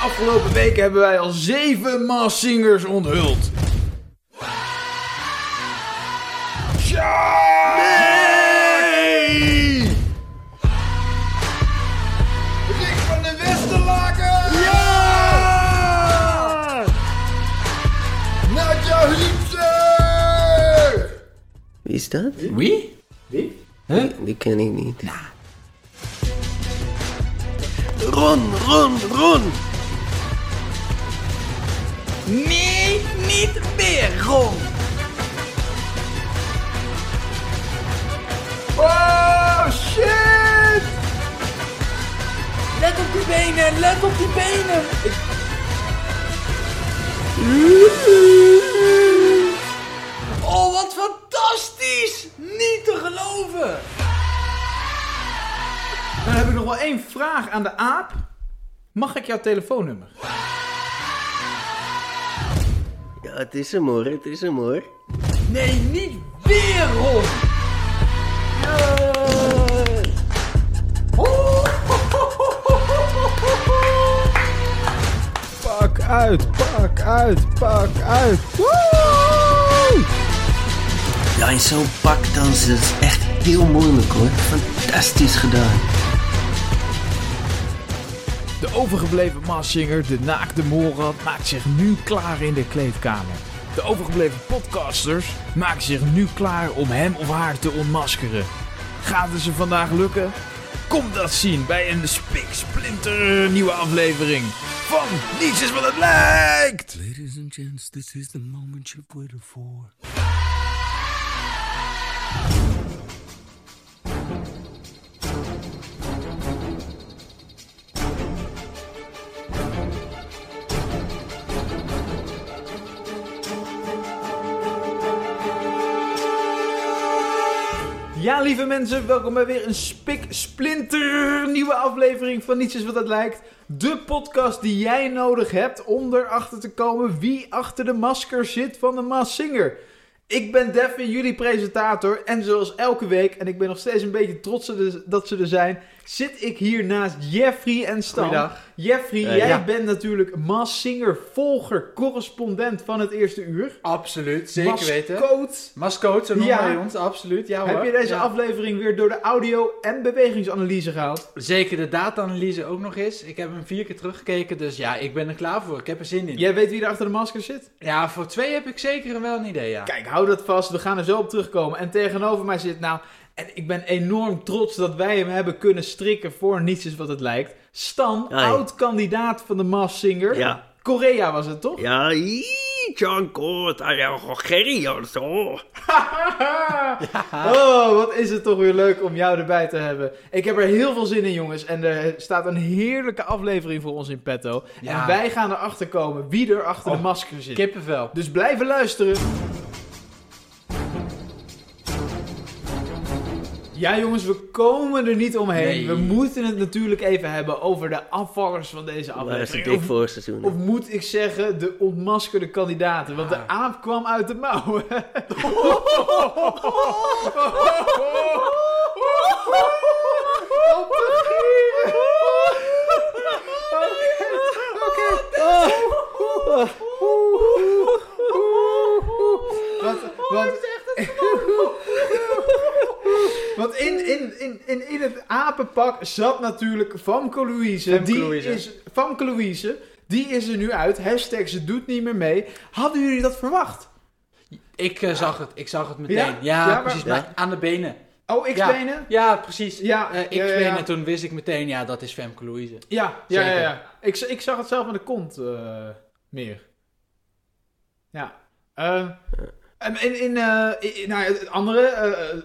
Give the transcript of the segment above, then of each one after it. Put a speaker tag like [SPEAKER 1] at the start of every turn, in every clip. [SPEAKER 1] afgelopen week hebben wij al zeven Maas Singers onthuld. Ja! Nee!
[SPEAKER 2] Rick van de Westerlaken!
[SPEAKER 1] Ja!
[SPEAKER 2] Nadja Riepse!
[SPEAKER 3] Wie is dat?
[SPEAKER 1] Wie?
[SPEAKER 3] Die ken ik niet.
[SPEAKER 1] Run, run, run! Nee, niet meer, Ron! Oh, shit! Let op die benen, let op die benen! Oh, wat fantastisch! Niet te geloven! Dan heb ik nog wel één vraag aan de aap. Mag ik jouw telefoonnummer?
[SPEAKER 3] Ja, het is hem hoor, het is hem hoor.
[SPEAKER 1] Nee, niet weer, Ron! Pak uit, pak uit, pak uit. Woe!
[SPEAKER 3] Ja, in zo'n pak dansen, dat is echt heel moeilijk hoor. Fantastisch gedaan.
[SPEAKER 1] De overgebleven massinger, de naakte Morad, maakt zich nu klaar in de kleedkamer. De overgebleven podcasters maken zich nu klaar om hem of haar te ontmaskeren. Gaat het ze vandaag lukken? Kom dat zien bij een spiksplinter nieuwe aflevering van Niets is wat het lijkt!
[SPEAKER 4] Ladies and gents, this is the moment you've waited for.
[SPEAKER 1] Ja, lieve mensen, welkom bij weer een spiksplinter nieuwe aflevering van Niets is wat het lijkt. De podcast die jij nodig hebt om erachter te komen wie achter de masker zit van de Maas Singer. Ik ben Devin, jullie presentator. En zoals elke week, en ik ben nog steeds een beetje trots dat ze er zijn, zit ik hier naast Jeffrey en Stan.
[SPEAKER 5] Goeiedag.
[SPEAKER 1] Jeffrey,
[SPEAKER 5] Eh,
[SPEAKER 1] jij
[SPEAKER 5] ja.
[SPEAKER 1] bent natuurlijk Maas Singer volger, correspondent van het eerste uur.
[SPEAKER 5] Absoluut, zeker weten.
[SPEAKER 1] Mascoot.
[SPEAKER 5] Mascoot, zo noemen
[SPEAKER 1] Ja.
[SPEAKER 5] wij ons, absoluut. Ja,
[SPEAKER 1] Heb
[SPEAKER 5] hoor.
[SPEAKER 1] je deze
[SPEAKER 5] Ja.
[SPEAKER 1] aflevering weer door de audio- en bewegingsanalyse gehaald?
[SPEAKER 5] Zeker de data-analyse ook nog eens. Ik heb hem vier keer teruggekeken, dus ja, ik ben er klaar voor. Ik heb er zin in.
[SPEAKER 1] Jij weet wie er achter de masker zit?
[SPEAKER 5] Ja, voor twee heb ik zeker wel een idee, ja.
[SPEAKER 1] Kijk, hou dat vast. We gaan er zo op terugkomen. En tegenover mij zit nou... En ik ben enorm trots dat wij hem hebben kunnen strikken voor niets is wat het lijkt. Stan,
[SPEAKER 3] Hoi.
[SPEAKER 1] oud-kandidaat van de Mass Singer.
[SPEAKER 3] Ja.
[SPEAKER 1] Korea was het, toch?
[SPEAKER 3] Ja, John Kort, Ah, Gerrie zo.
[SPEAKER 1] Oh, wat is het toch weer leuk om jou erbij te hebben. Ik heb er heel veel zin in, jongens. En er staat een heerlijke aflevering voor ons in petto.
[SPEAKER 5] Ja.
[SPEAKER 1] En wij gaan erachter komen wie er achter de
[SPEAKER 5] Oh,
[SPEAKER 1] masker zit.
[SPEAKER 5] Kippenvel.
[SPEAKER 1] Dus blijven luisteren. Ja jongens, we komen er niet omheen.
[SPEAKER 5] Nee.
[SPEAKER 1] We moeten het natuurlijk even hebben over de afvallers van deze
[SPEAKER 3] Waar is het
[SPEAKER 1] aflevering.
[SPEAKER 3] dik
[SPEAKER 1] Of-
[SPEAKER 3] voor seizoen?
[SPEAKER 1] Of moet ik zeggen, de ontmaskerde kandidaten. Want de
[SPEAKER 3] Ah.
[SPEAKER 1] aap kwam uit de mouwen. Op de gieren. Oké, oké. Want, want, want in, in, in, in, in het apenpak zat natuurlijk Famke Louise.
[SPEAKER 5] Famke
[SPEAKER 1] die
[SPEAKER 5] Louise.
[SPEAKER 1] Is, Famke Louise, die is er nu uit. Hashtag ze doet niet meer mee. Hadden jullie dat verwacht?
[SPEAKER 5] Ik eh, zag het, ik zag het meteen.
[SPEAKER 1] Ja?
[SPEAKER 5] Ja,
[SPEAKER 1] Ja, maar-
[SPEAKER 5] precies,
[SPEAKER 3] Ja.
[SPEAKER 5] maar aan de benen.
[SPEAKER 1] Oh, ik
[SPEAKER 5] Ja.
[SPEAKER 1] benen?
[SPEAKER 5] Ja, precies.
[SPEAKER 1] Ja,
[SPEAKER 5] Eh, ik
[SPEAKER 1] ja, ja,
[SPEAKER 5] benen,
[SPEAKER 1] ja.
[SPEAKER 5] toen wist ik meteen, ja, dat is Femke Louise.
[SPEAKER 1] Ja, ja, ja,
[SPEAKER 5] Zeker.
[SPEAKER 1] ja. Ik, z- ik zag het zelf aan de kont eh, meer. Ja. Eh, en in, in, eh, in- nou, het andere... eh, eh,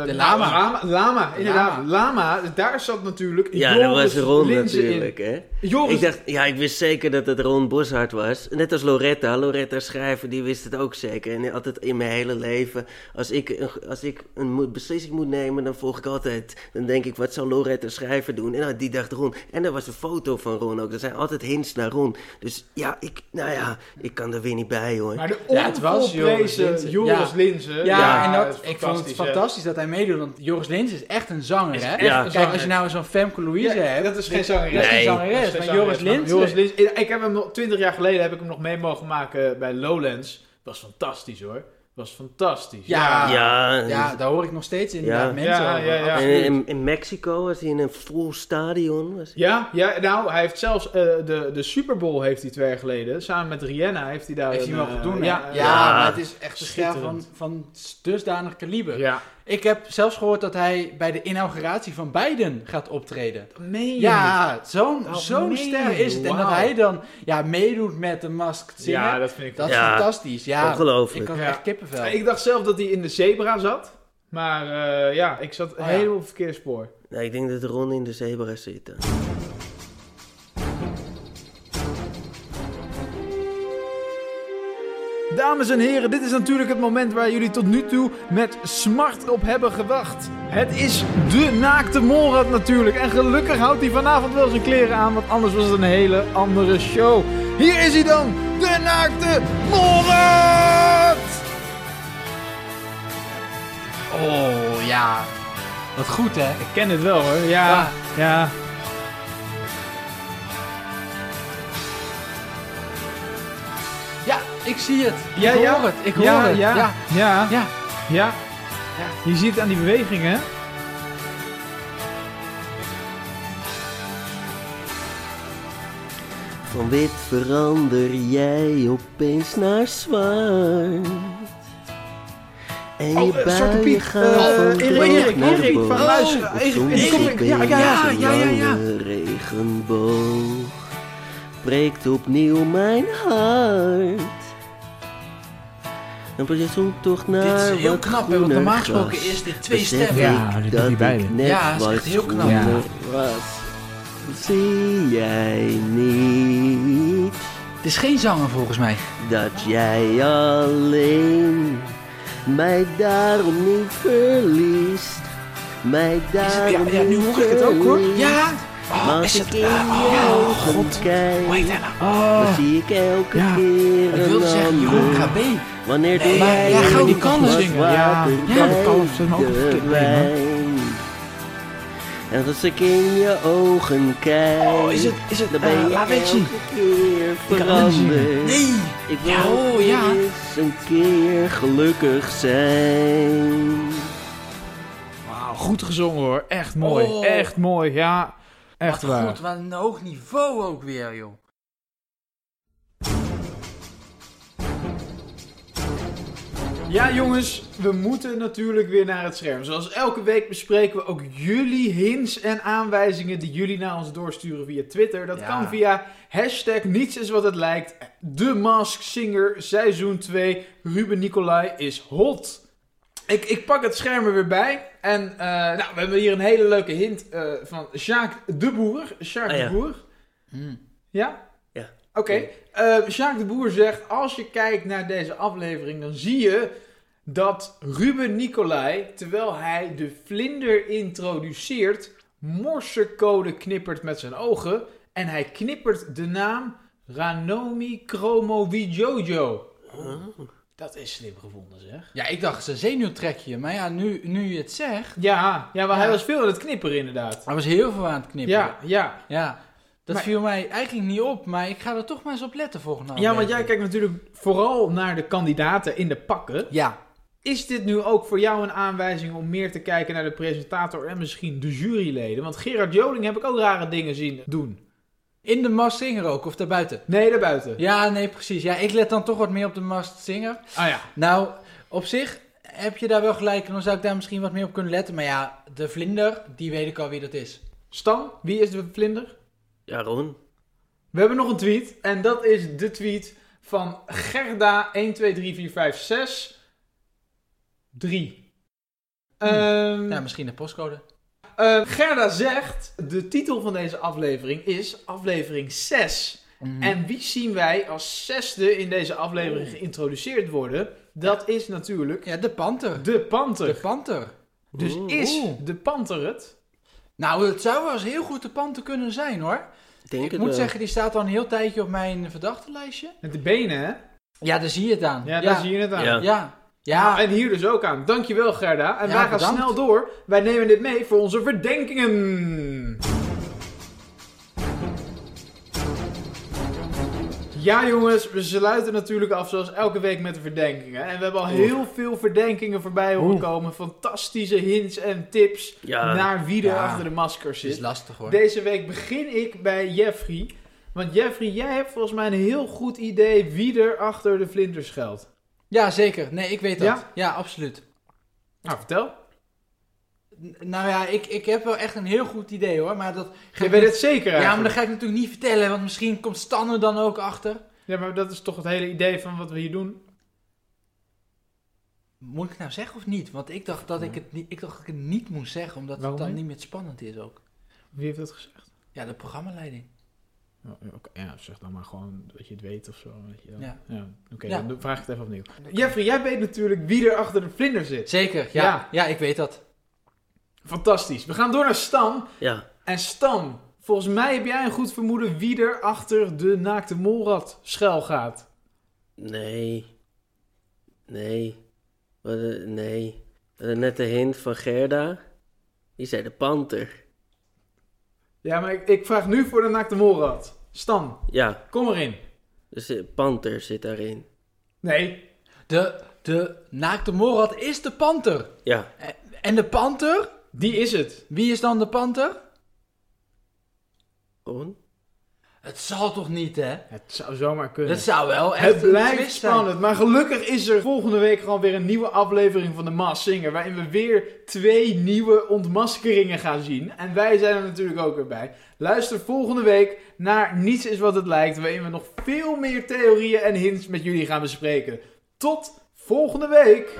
[SPEAKER 1] eh,
[SPEAKER 5] De lama.
[SPEAKER 1] Lama, lama,
[SPEAKER 5] De
[SPEAKER 1] inderdaad. Lama. daar zat natuurlijk
[SPEAKER 3] Ja, dat
[SPEAKER 1] Joris
[SPEAKER 3] was Ron
[SPEAKER 1] Linzen
[SPEAKER 3] natuurlijk, hè.
[SPEAKER 1] in. Joris,
[SPEAKER 3] Ik dacht, ja, ik wist zeker dat het Ron Boshart was. Net als Loretta. Loretta schrijver, die wist het ook zeker. En altijd in mijn hele leven, als ik, een- als ik een mo- beslissing moet nemen, dan volg ik altijd... Dan denk ik, wat zal Loretta schrijver doen? En nou, die dacht Ron. En er was een foto van Ron ook. Er zijn altijd hints naar Ron. Dus ja, ik, nou ja, ik kan er weer niet bij, hoor.
[SPEAKER 1] maar de
[SPEAKER 5] Ja, het was Joris.
[SPEAKER 1] Linzen. Joris
[SPEAKER 5] Ja.
[SPEAKER 1] Linzen.
[SPEAKER 5] Ja,
[SPEAKER 3] Ja,
[SPEAKER 5] en
[SPEAKER 1] is
[SPEAKER 5] dat, ik vond het
[SPEAKER 1] hè.
[SPEAKER 5] fantastisch dat hij meedoet, want Joris Lins is echt een zanger, hè?
[SPEAKER 3] echt een
[SPEAKER 5] Kijk,
[SPEAKER 1] zanger.
[SPEAKER 5] als je nou zo'n Femke Louise
[SPEAKER 1] Ja,
[SPEAKER 5] hebt,
[SPEAKER 1] dat is geen
[SPEAKER 5] dat is
[SPEAKER 1] zangeres.
[SPEAKER 5] geen
[SPEAKER 3] Nee.
[SPEAKER 1] Dat
[SPEAKER 5] zangeres,
[SPEAKER 1] is geen
[SPEAKER 5] maar Joris
[SPEAKER 1] zangeres, maar
[SPEAKER 5] Lins...
[SPEAKER 1] Joris Linzen. Ik ik heb hem nog, 20 jaar geleden heb ik hem nog mee mogen maken bij Lowlands. Was fantastisch hoor. Was fantastisch.
[SPEAKER 5] Ja.
[SPEAKER 3] Ja,
[SPEAKER 5] Ja, daar hoor ik nog steeds inderdaad
[SPEAKER 3] Ja.
[SPEAKER 5] mensen
[SPEAKER 1] Ja,
[SPEAKER 5] over.
[SPEAKER 1] ja, ja.
[SPEAKER 5] Absoluut.
[SPEAKER 3] En in, in Mexico was hij in een vol stadion. Was hij...
[SPEAKER 1] Ja, ja, nou, hij heeft zelfs eh, de, de Super Bowl heeft hij twee jaar geleden. Samen met Rihanna heeft hij daar.
[SPEAKER 5] Heeft
[SPEAKER 1] een,
[SPEAKER 5] hij mogen
[SPEAKER 1] eh,
[SPEAKER 5] doen, hè?
[SPEAKER 1] ja,
[SPEAKER 5] ja,
[SPEAKER 1] ja.
[SPEAKER 5] maar het is echt een schaal van,
[SPEAKER 1] Schitterend.
[SPEAKER 5] van dusdanig kaliber.
[SPEAKER 1] ja.
[SPEAKER 5] Ik heb zelfs gehoord dat hij bij de inauguratie van Biden gaat optreden.
[SPEAKER 1] Meen je niet?
[SPEAKER 5] Ja, zo'n
[SPEAKER 1] Oh,
[SPEAKER 5] zo'n
[SPEAKER 1] nee,
[SPEAKER 5] ster is het. En dat
[SPEAKER 1] wauw.
[SPEAKER 5] hij dan ja, meedoet met de Masked Singer,
[SPEAKER 1] ja,
[SPEAKER 5] dat,
[SPEAKER 1] dat vind ik
[SPEAKER 5] is
[SPEAKER 3] Ja.
[SPEAKER 5] fantastisch. Ja,
[SPEAKER 3] Ongelooflijk.
[SPEAKER 5] Ik had
[SPEAKER 1] Ja.
[SPEAKER 5] echt kippenvel.
[SPEAKER 1] Ik dacht zelf dat hij in de zebra zat. Maar eh, ja, ik zat
[SPEAKER 5] Oh, ja.
[SPEAKER 1] helemaal op het verkeerde spoor.
[SPEAKER 3] Nou, ik denk dat Ron in de zebra zit. dan.
[SPEAKER 1] Dames en heren, dit is natuurlijk het moment waar jullie tot nu toe met smart op hebben gewacht. Het is de naakte molrat natuurlijk. En gelukkig houdt hij vanavond wel zijn kleren aan, want anders was het een hele andere show. Hier is hij dan, de naakte molrat!
[SPEAKER 5] Oh, ja. Wat goed, hè?
[SPEAKER 1] Ik ken het wel hoor, ja.
[SPEAKER 5] Ja.
[SPEAKER 1] ja.
[SPEAKER 5] Ja, ik zie het. Ik
[SPEAKER 1] Ja,
[SPEAKER 5] hoor
[SPEAKER 1] ja.
[SPEAKER 5] het. Ik hoor
[SPEAKER 1] ja,
[SPEAKER 5] het.
[SPEAKER 1] Ja, ja,
[SPEAKER 5] ja.
[SPEAKER 1] ja,
[SPEAKER 5] ja.
[SPEAKER 1] Je ziet het aan die bewegingen.
[SPEAKER 3] Van wit verander jij opeens naar zwart. En je
[SPEAKER 1] Oh, eh, Zwarte
[SPEAKER 3] buien
[SPEAKER 1] Piet.
[SPEAKER 3] gaan
[SPEAKER 1] eh,
[SPEAKER 5] Oh,
[SPEAKER 3] van
[SPEAKER 1] Erik,
[SPEAKER 3] rood
[SPEAKER 1] Erik,
[SPEAKER 3] naar
[SPEAKER 1] Erik van
[SPEAKER 3] boos.
[SPEAKER 1] Luister.
[SPEAKER 3] Op
[SPEAKER 1] Erik,
[SPEAKER 3] soms
[SPEAKER 1] Erik,
[SPEAKER 3] opeens
[SPEAKER 1] ja, ja,
[SPEAKER 3] een
[SPEAKER 1] ja, ja, ja.
[SPEAKER 3] lange regenboog. Breekt opnieuw mijn hart. Een projecttocht naar
[SPEAKER 5] Dit is heel
[SPEAKER 3] wat
[SPEAKER 5] knap, hè? Want
[SPEAKER 3] groener
[SPEAKER 5] normaal
[SPEAKER 3] gras.
[SPEAKER 5] gesproken is dit twee
[SPEAKER 3] Besef
[SPEAKER 5] stemmen.
[SPEAKER 3] ik
[SPEAKER 5] Ja,
[SPEAKER 4] dit doet
[SPEAKER 3] dat
[SPEAKER 4] hij beide.
[SPEAKER 3] ik net
[SPEAKER 5] Ja, dat is
[SPEAKER 3] wat
[SPEAKER 5] echt heel knap.
[SPEAKER 3] groener
[SPEAKER 4] Ja.
[SPEAKER 3] was. Zie jij niet
[SPEAKER 5] Het is geen zanger volgens mij.
[SPEAKER 3] dat jij alleen mij daarom niet verliest? Mij
[SPEAKER 5] Is het, ja,
[SPEAKER 3] daarom
[SPEAKER 5] ja, nu
[SPEAKER 3] niet
[SPEAKER 5] hoor ik het ook, hoor.
[SPEAKER 3] verliest.
[SPEAKER 5] Ja. Oh,
[SPEAKER 3] Als
[SPEAKER 5] is
[SPEAKER 3] ik
[SPEAKER 5] het...
[SPEAKER 3] in
[SPEAKER 5] ah, oh,
[SPEAKER 3] je
[SPEAKER 5] ja.
[SPEAKER 3] ogen kijk,
[SPEAKER 5] Hoe heet hij nou?
[SPEAKER 3] dan zie ik elke
[SPEAKER 1] Ja.
[SPEAKER 3] keer
[SPEAKER 5] Ik wilde
[SPEAKER 3] een
[SPEAKER 5] zeggen Jeroen
[SPEAKER 3] ander.
[SPEAKER 5] KB.
[SPEAKER 3] Wanneer doe
[SPEAKER 5] maar
[SPEAKER 3] jij
[SPEAKER 5] ja, Gouden
[SPEAKER 3] een
[SPEAKER 5] Kallen
[SPEAKER 3] glas
[SPEAKER 5] zingen.
[SPEAKER 1] Ja,
[SPEAKER 3] water
[SPEAKER 5] ja, dat
[SPEAKER 3] bij
[SPEAKER 5] kan, dat is hem ook
[SPEAKER 3] de
[SPEAKER 5] verkeerd, nee,
[SPEAKER 3] wijn? En als ik in je ogen kijk,
[SPEAKER 5] Oh, is het... Is het
[SPEAKER 3] dan ben
[SPEAKER 5] eh,
[SPEAKER 3] je
[SPEAKER 5] La
[SPEAKER 3] elke
[SPEAKER 5] Vecchi?
[SPEAKER 3] keer veranderd.
[SPEAKER 5] Nee.
[SPEAKER 3] Ik wil
[SPEAKER 5] Ja, oh,
[SPEAKER 3] weer
[SPEAKER 5] ja.
[SPEAKER 3] eens een keer gelukkig zijn.
[SPEAKER 1] Wauw, goed gezongen hoor. Echt mooi.
[SPEAKER 5] Oh.
[SPEAKER 1] Echt mooi, ja. Echt
[SPEAKER 5] wat
[SPEAKER 1] waar.
[SPEAKER 5] goed, wat een hoog niveau ook weer, joh.
[SPEAKER 1] Ja, jongens, we moeten natuurlijk weer naar het scherm. Zoals elke week bespreken we ook jullie hints en aanwijzingen die jullie naar ons doorsturen via Twitter. Dat
[SPEAKER 5] Ja.
[SPEAKER 1] kan via hashtag niets is wat het lijkt. De Mask Singer, seizoen 2. Ruben Nicolai is hot. Ik, ik pak het scherm er weer bij. En eh, nou, we hebben hier een hele leuke hint eh, van Jacques de Boer. Jacques
[SPEAKER 3] Ah, ja.
[SPEAKER 1] de Boer.
[SPEAKER 5] Hmm.
[SPEAKER 1] Ja?
[SPEAKER 3] Ja.
[SPEAKER 1] Oké. Eh, Sjaak de Boer zegt: Als je kijkt naar deze aflevering, dan zie je dat Ruben Nicolai, terwijl hij de vlinder introduceert, morsecode knippert met zijn ogen. En hij knippert de naam Ranomi Kromowidjojo. Dat is slim gevonden, zeg.
[SPEAKER 5] Ja, ik dacht, ze zenuwtrekje. Maar ja, nu, nu je het zegt...
[SPEAKER 1] Ja, ja maar hij
[SPEAKER 5] Ja.
[SPEAKER 1] was veel aan het knipperen, inderdaad.
[SPEAKER 5] Hij was heel veel aan het knippen.
[SPEAKER 1] Ja, ja.
[SPEAKER 5] Ja, dat
[SPEAKER 1] Maar-
[SPEAKER 5] viel mij eigenlijk niet op, maar ik ga er toch maar eens op letten volgende
[SPEAKER 1] Ja, want
[SPEAKER 5] aflevering.
[SPEAKER 1] jij kijkt natuurlijk vooral naar de kandidaten in de pakken.
[SPEAKER 5] Ja,
[SPEAKER 1] Is dit nu ook voor jou een aanwijzing om meer te kijken naar de presentator en misschien de juryleden? Want Gerard Joling heb ik ook rare dingen zien doen.
[SPEAKER 5] in de Mast Singer ook, of daarbuiten.
[SPEAKER 1] Nee, daarbuiten.
[SPEAKER 5] Ja, nee, precies. Ja, ik let dan toch wat meer op de Mast Singer.
[SPEAKER 1] Ah ja.
[SPEAKER 5] Nou, op zich heb je daar wel gelijk en dan zou ik daar misschien wat meer op kunnen letten. Maar ja, de vlinder, die weet ik al wie dat is.
[SPEAKER 1] Stan, wie is de vlinder?
[SPEAKER 3] Ja, Ron.
[SPEAKER 1] We hebben nog een tweet. En dat is de tweet van Gerda 1, 2, 3, 4, 5, 6, 3. Ehm,
[SPEAKER 5] Ja, Nou, misschien de postcode.
[SPEAKER 1] eh, Gerda zegt, de titel van deze aflevering is aflevering 6. En wie zien wij als zesde in deze aflevering geïntroduceerd worden? Dat is natuurlijk
[SPEAKER 5] Ja, de panter.
[SPEAKER 1] de
[SPEAKER 5] De
[SPEAKER 1] panter.
[SPEAKER 5] panter.
[SPEAKER 1] Dus
[SPEAKER 3] Oeh.
[SPEAKER 1] is
[SPEAKER 5] Oeh.
[SPEAKER 1] de panter het?
[SPEAKER 5] Nou, het zou wel eens heel goed de panter kunnen zijn hoor.
[SPEAKER 3] Ik denk
[SPEAKER 5] ik
[SPEAKER 3] het
[SPEAKER 5] moet
[SPEAKER 3] wel.
[SPEAKER 5] zeggen, die staat al een heel tijdje op mijn verdachte lijstje.
[SPEAKER 1] Met de benen, hè?
[SPEAKER 5] Ja, daar zie je het aan.
[SPEAKER 1] Ja, daar zie je het aan.
[SPEAKER 3] Ja.
[SPEAKER 5] Ja.
[SPEAKER 1] Nou,
[SPEAKER 5] Ja.
[SPEAKER 1] en hier dus ook aan. Dankjewel Gerda. En
[SPEAKER 5] Ja,
[SPEAKER 1] wij gaan
[SPEAKER 5] bedankt.
[SPEAKER 1] snel door. Wij nemen dit mee voor onze verdenkingen. Ja jongens, we sluiten natuurlijk af zoals elke week met de verdenkingen. En we hebben al heel veel verdenkingen voorbij horen komen. Fantastische hints en tips
[SPEAKER 3] Ja.
[SPEAKER 1] naar wie er
[SPEAKER 5] Ja.
[SPEAKER 1] achter de masker
[SPEAKER 5] Het is
[SPEAKER 1] zit.
[SPEAKER 5] lastig hoor.
[SPEAKER 1] Deze week begin ik bij Jeffrey. Want Jeffrey, jij hebt volgens mij een heel goed idee wie er achter de vlinders schuilt.
[SPEAKER 5] Ja, zeker. Nee, ik weet dat.
[SPEAKER 1] Ja?
[SPEAKER 5] Ja, absoluut.
[SPEAKER 1] Nou, vertel.
[SPEAKER 5] N- Nou ja, ik, ik heb wel echt een heel goed idee hoor, maar dat... ga ik
[SPEAKER 1] Je
[SPEAKER 5] niet-
[SPEAKER 1] weet het zeker
[SPEAKER 5] Ja, maar
[SPEAKER 1] eigenlijk.
[SPEAKER 5] dat ga ik natuurlijk niet vertellen, want misschien komt Stan er dan ook achter.
[SPEAKER 1] Ja, maar dat is toch het hele idee van wat we hier doen?
[SPEAKER 5] Moet ik het nou zeggen of niet? Want ik dacht dat ik het niet, ik dacht dat ik het niet moest zeggen, omdat
[SPEAKER 1] Waarom
[SPEAKER 5] het dan
[SPEAKER 1] niet?
[SPEAKER 5] niet meer spannend is ook.
[SPEAKER 1] Wie heeft dat gezegd?
[SPEAKER 5] Ja, de programmaleiding.
[SPEAKER 1] Oké, ja, zeg dan maar gewoon dat je het weet of zo. Weet je wel.
[SPEAKER 5] Ja.
[SPEAKER 1] Oké,
[SPEAKER 5] Ja.
[SPEAKER 1] dan vraag ik het even opnieuw. Jeffrey, jij weet natuurlijk wie er achter de vlinder zit.
[SPEAKER 5] Zeker, ja.
[SPEAKER 1] Ja.
[SPEAKER 5] Ja, ik weet dat.
[SPEAKER 1] Fantastisch. We gaan door naar Stan.
[SPEAKER 3] Ja.
[SPEAKER 1] En Stan, volgens mij heb jij een goed vermoeden wie er achter de naakte molrat schuil gaat.
[SPEAKER 3] Nee. Nee. Wat, eh, nee. We hadden net de hint van Gerda. Die zei de panter.
[SPEAKER 1] Ja, maar ik, ik vraag nu voor de naakte molrat. Stan,
[SPEAKER 3] Ja,
[SPEAKER 1] kom erin.
[SPEAKER 3] dus de panter zit daarin.
[SPEAKER 1] Nee.
[SPEAKER 5] De, de naakte Morad is de panter.
[SPEAKER 3] Ja,
[SPEAKER 5] E- En de panter?
[SPEAKER 1] Die is het.
[SPEAKER 5] Wie is dan de panter?
[SPEAKER 3] gewoon.
[SPEAKER 5] Het zal toch niet, hè?
[SPEAKER 1] Het zou zomaar kunnen.
[SPEAKER 5] Dat zou wel echt
[SPEAKER 1] Het
[SPEAKER 5] een
[SPEAKER 1] blijft
[SPEAKER 5] twist zijn.
[SPEAKER 1] spannend, maar gelukkig is er volgende week gewoon weer een nieuwe aflevering van de Maas Singer. Waarin we weer twee nieuwe ontmaskeringen gaan zien. En wij zijn er natuurlijk ook weer bij. Luister volgende week naar Niets is wat het lijkt. Waarin we nog veel meer theorieën en hints met jullie gaan bespreken. Tot volgende week!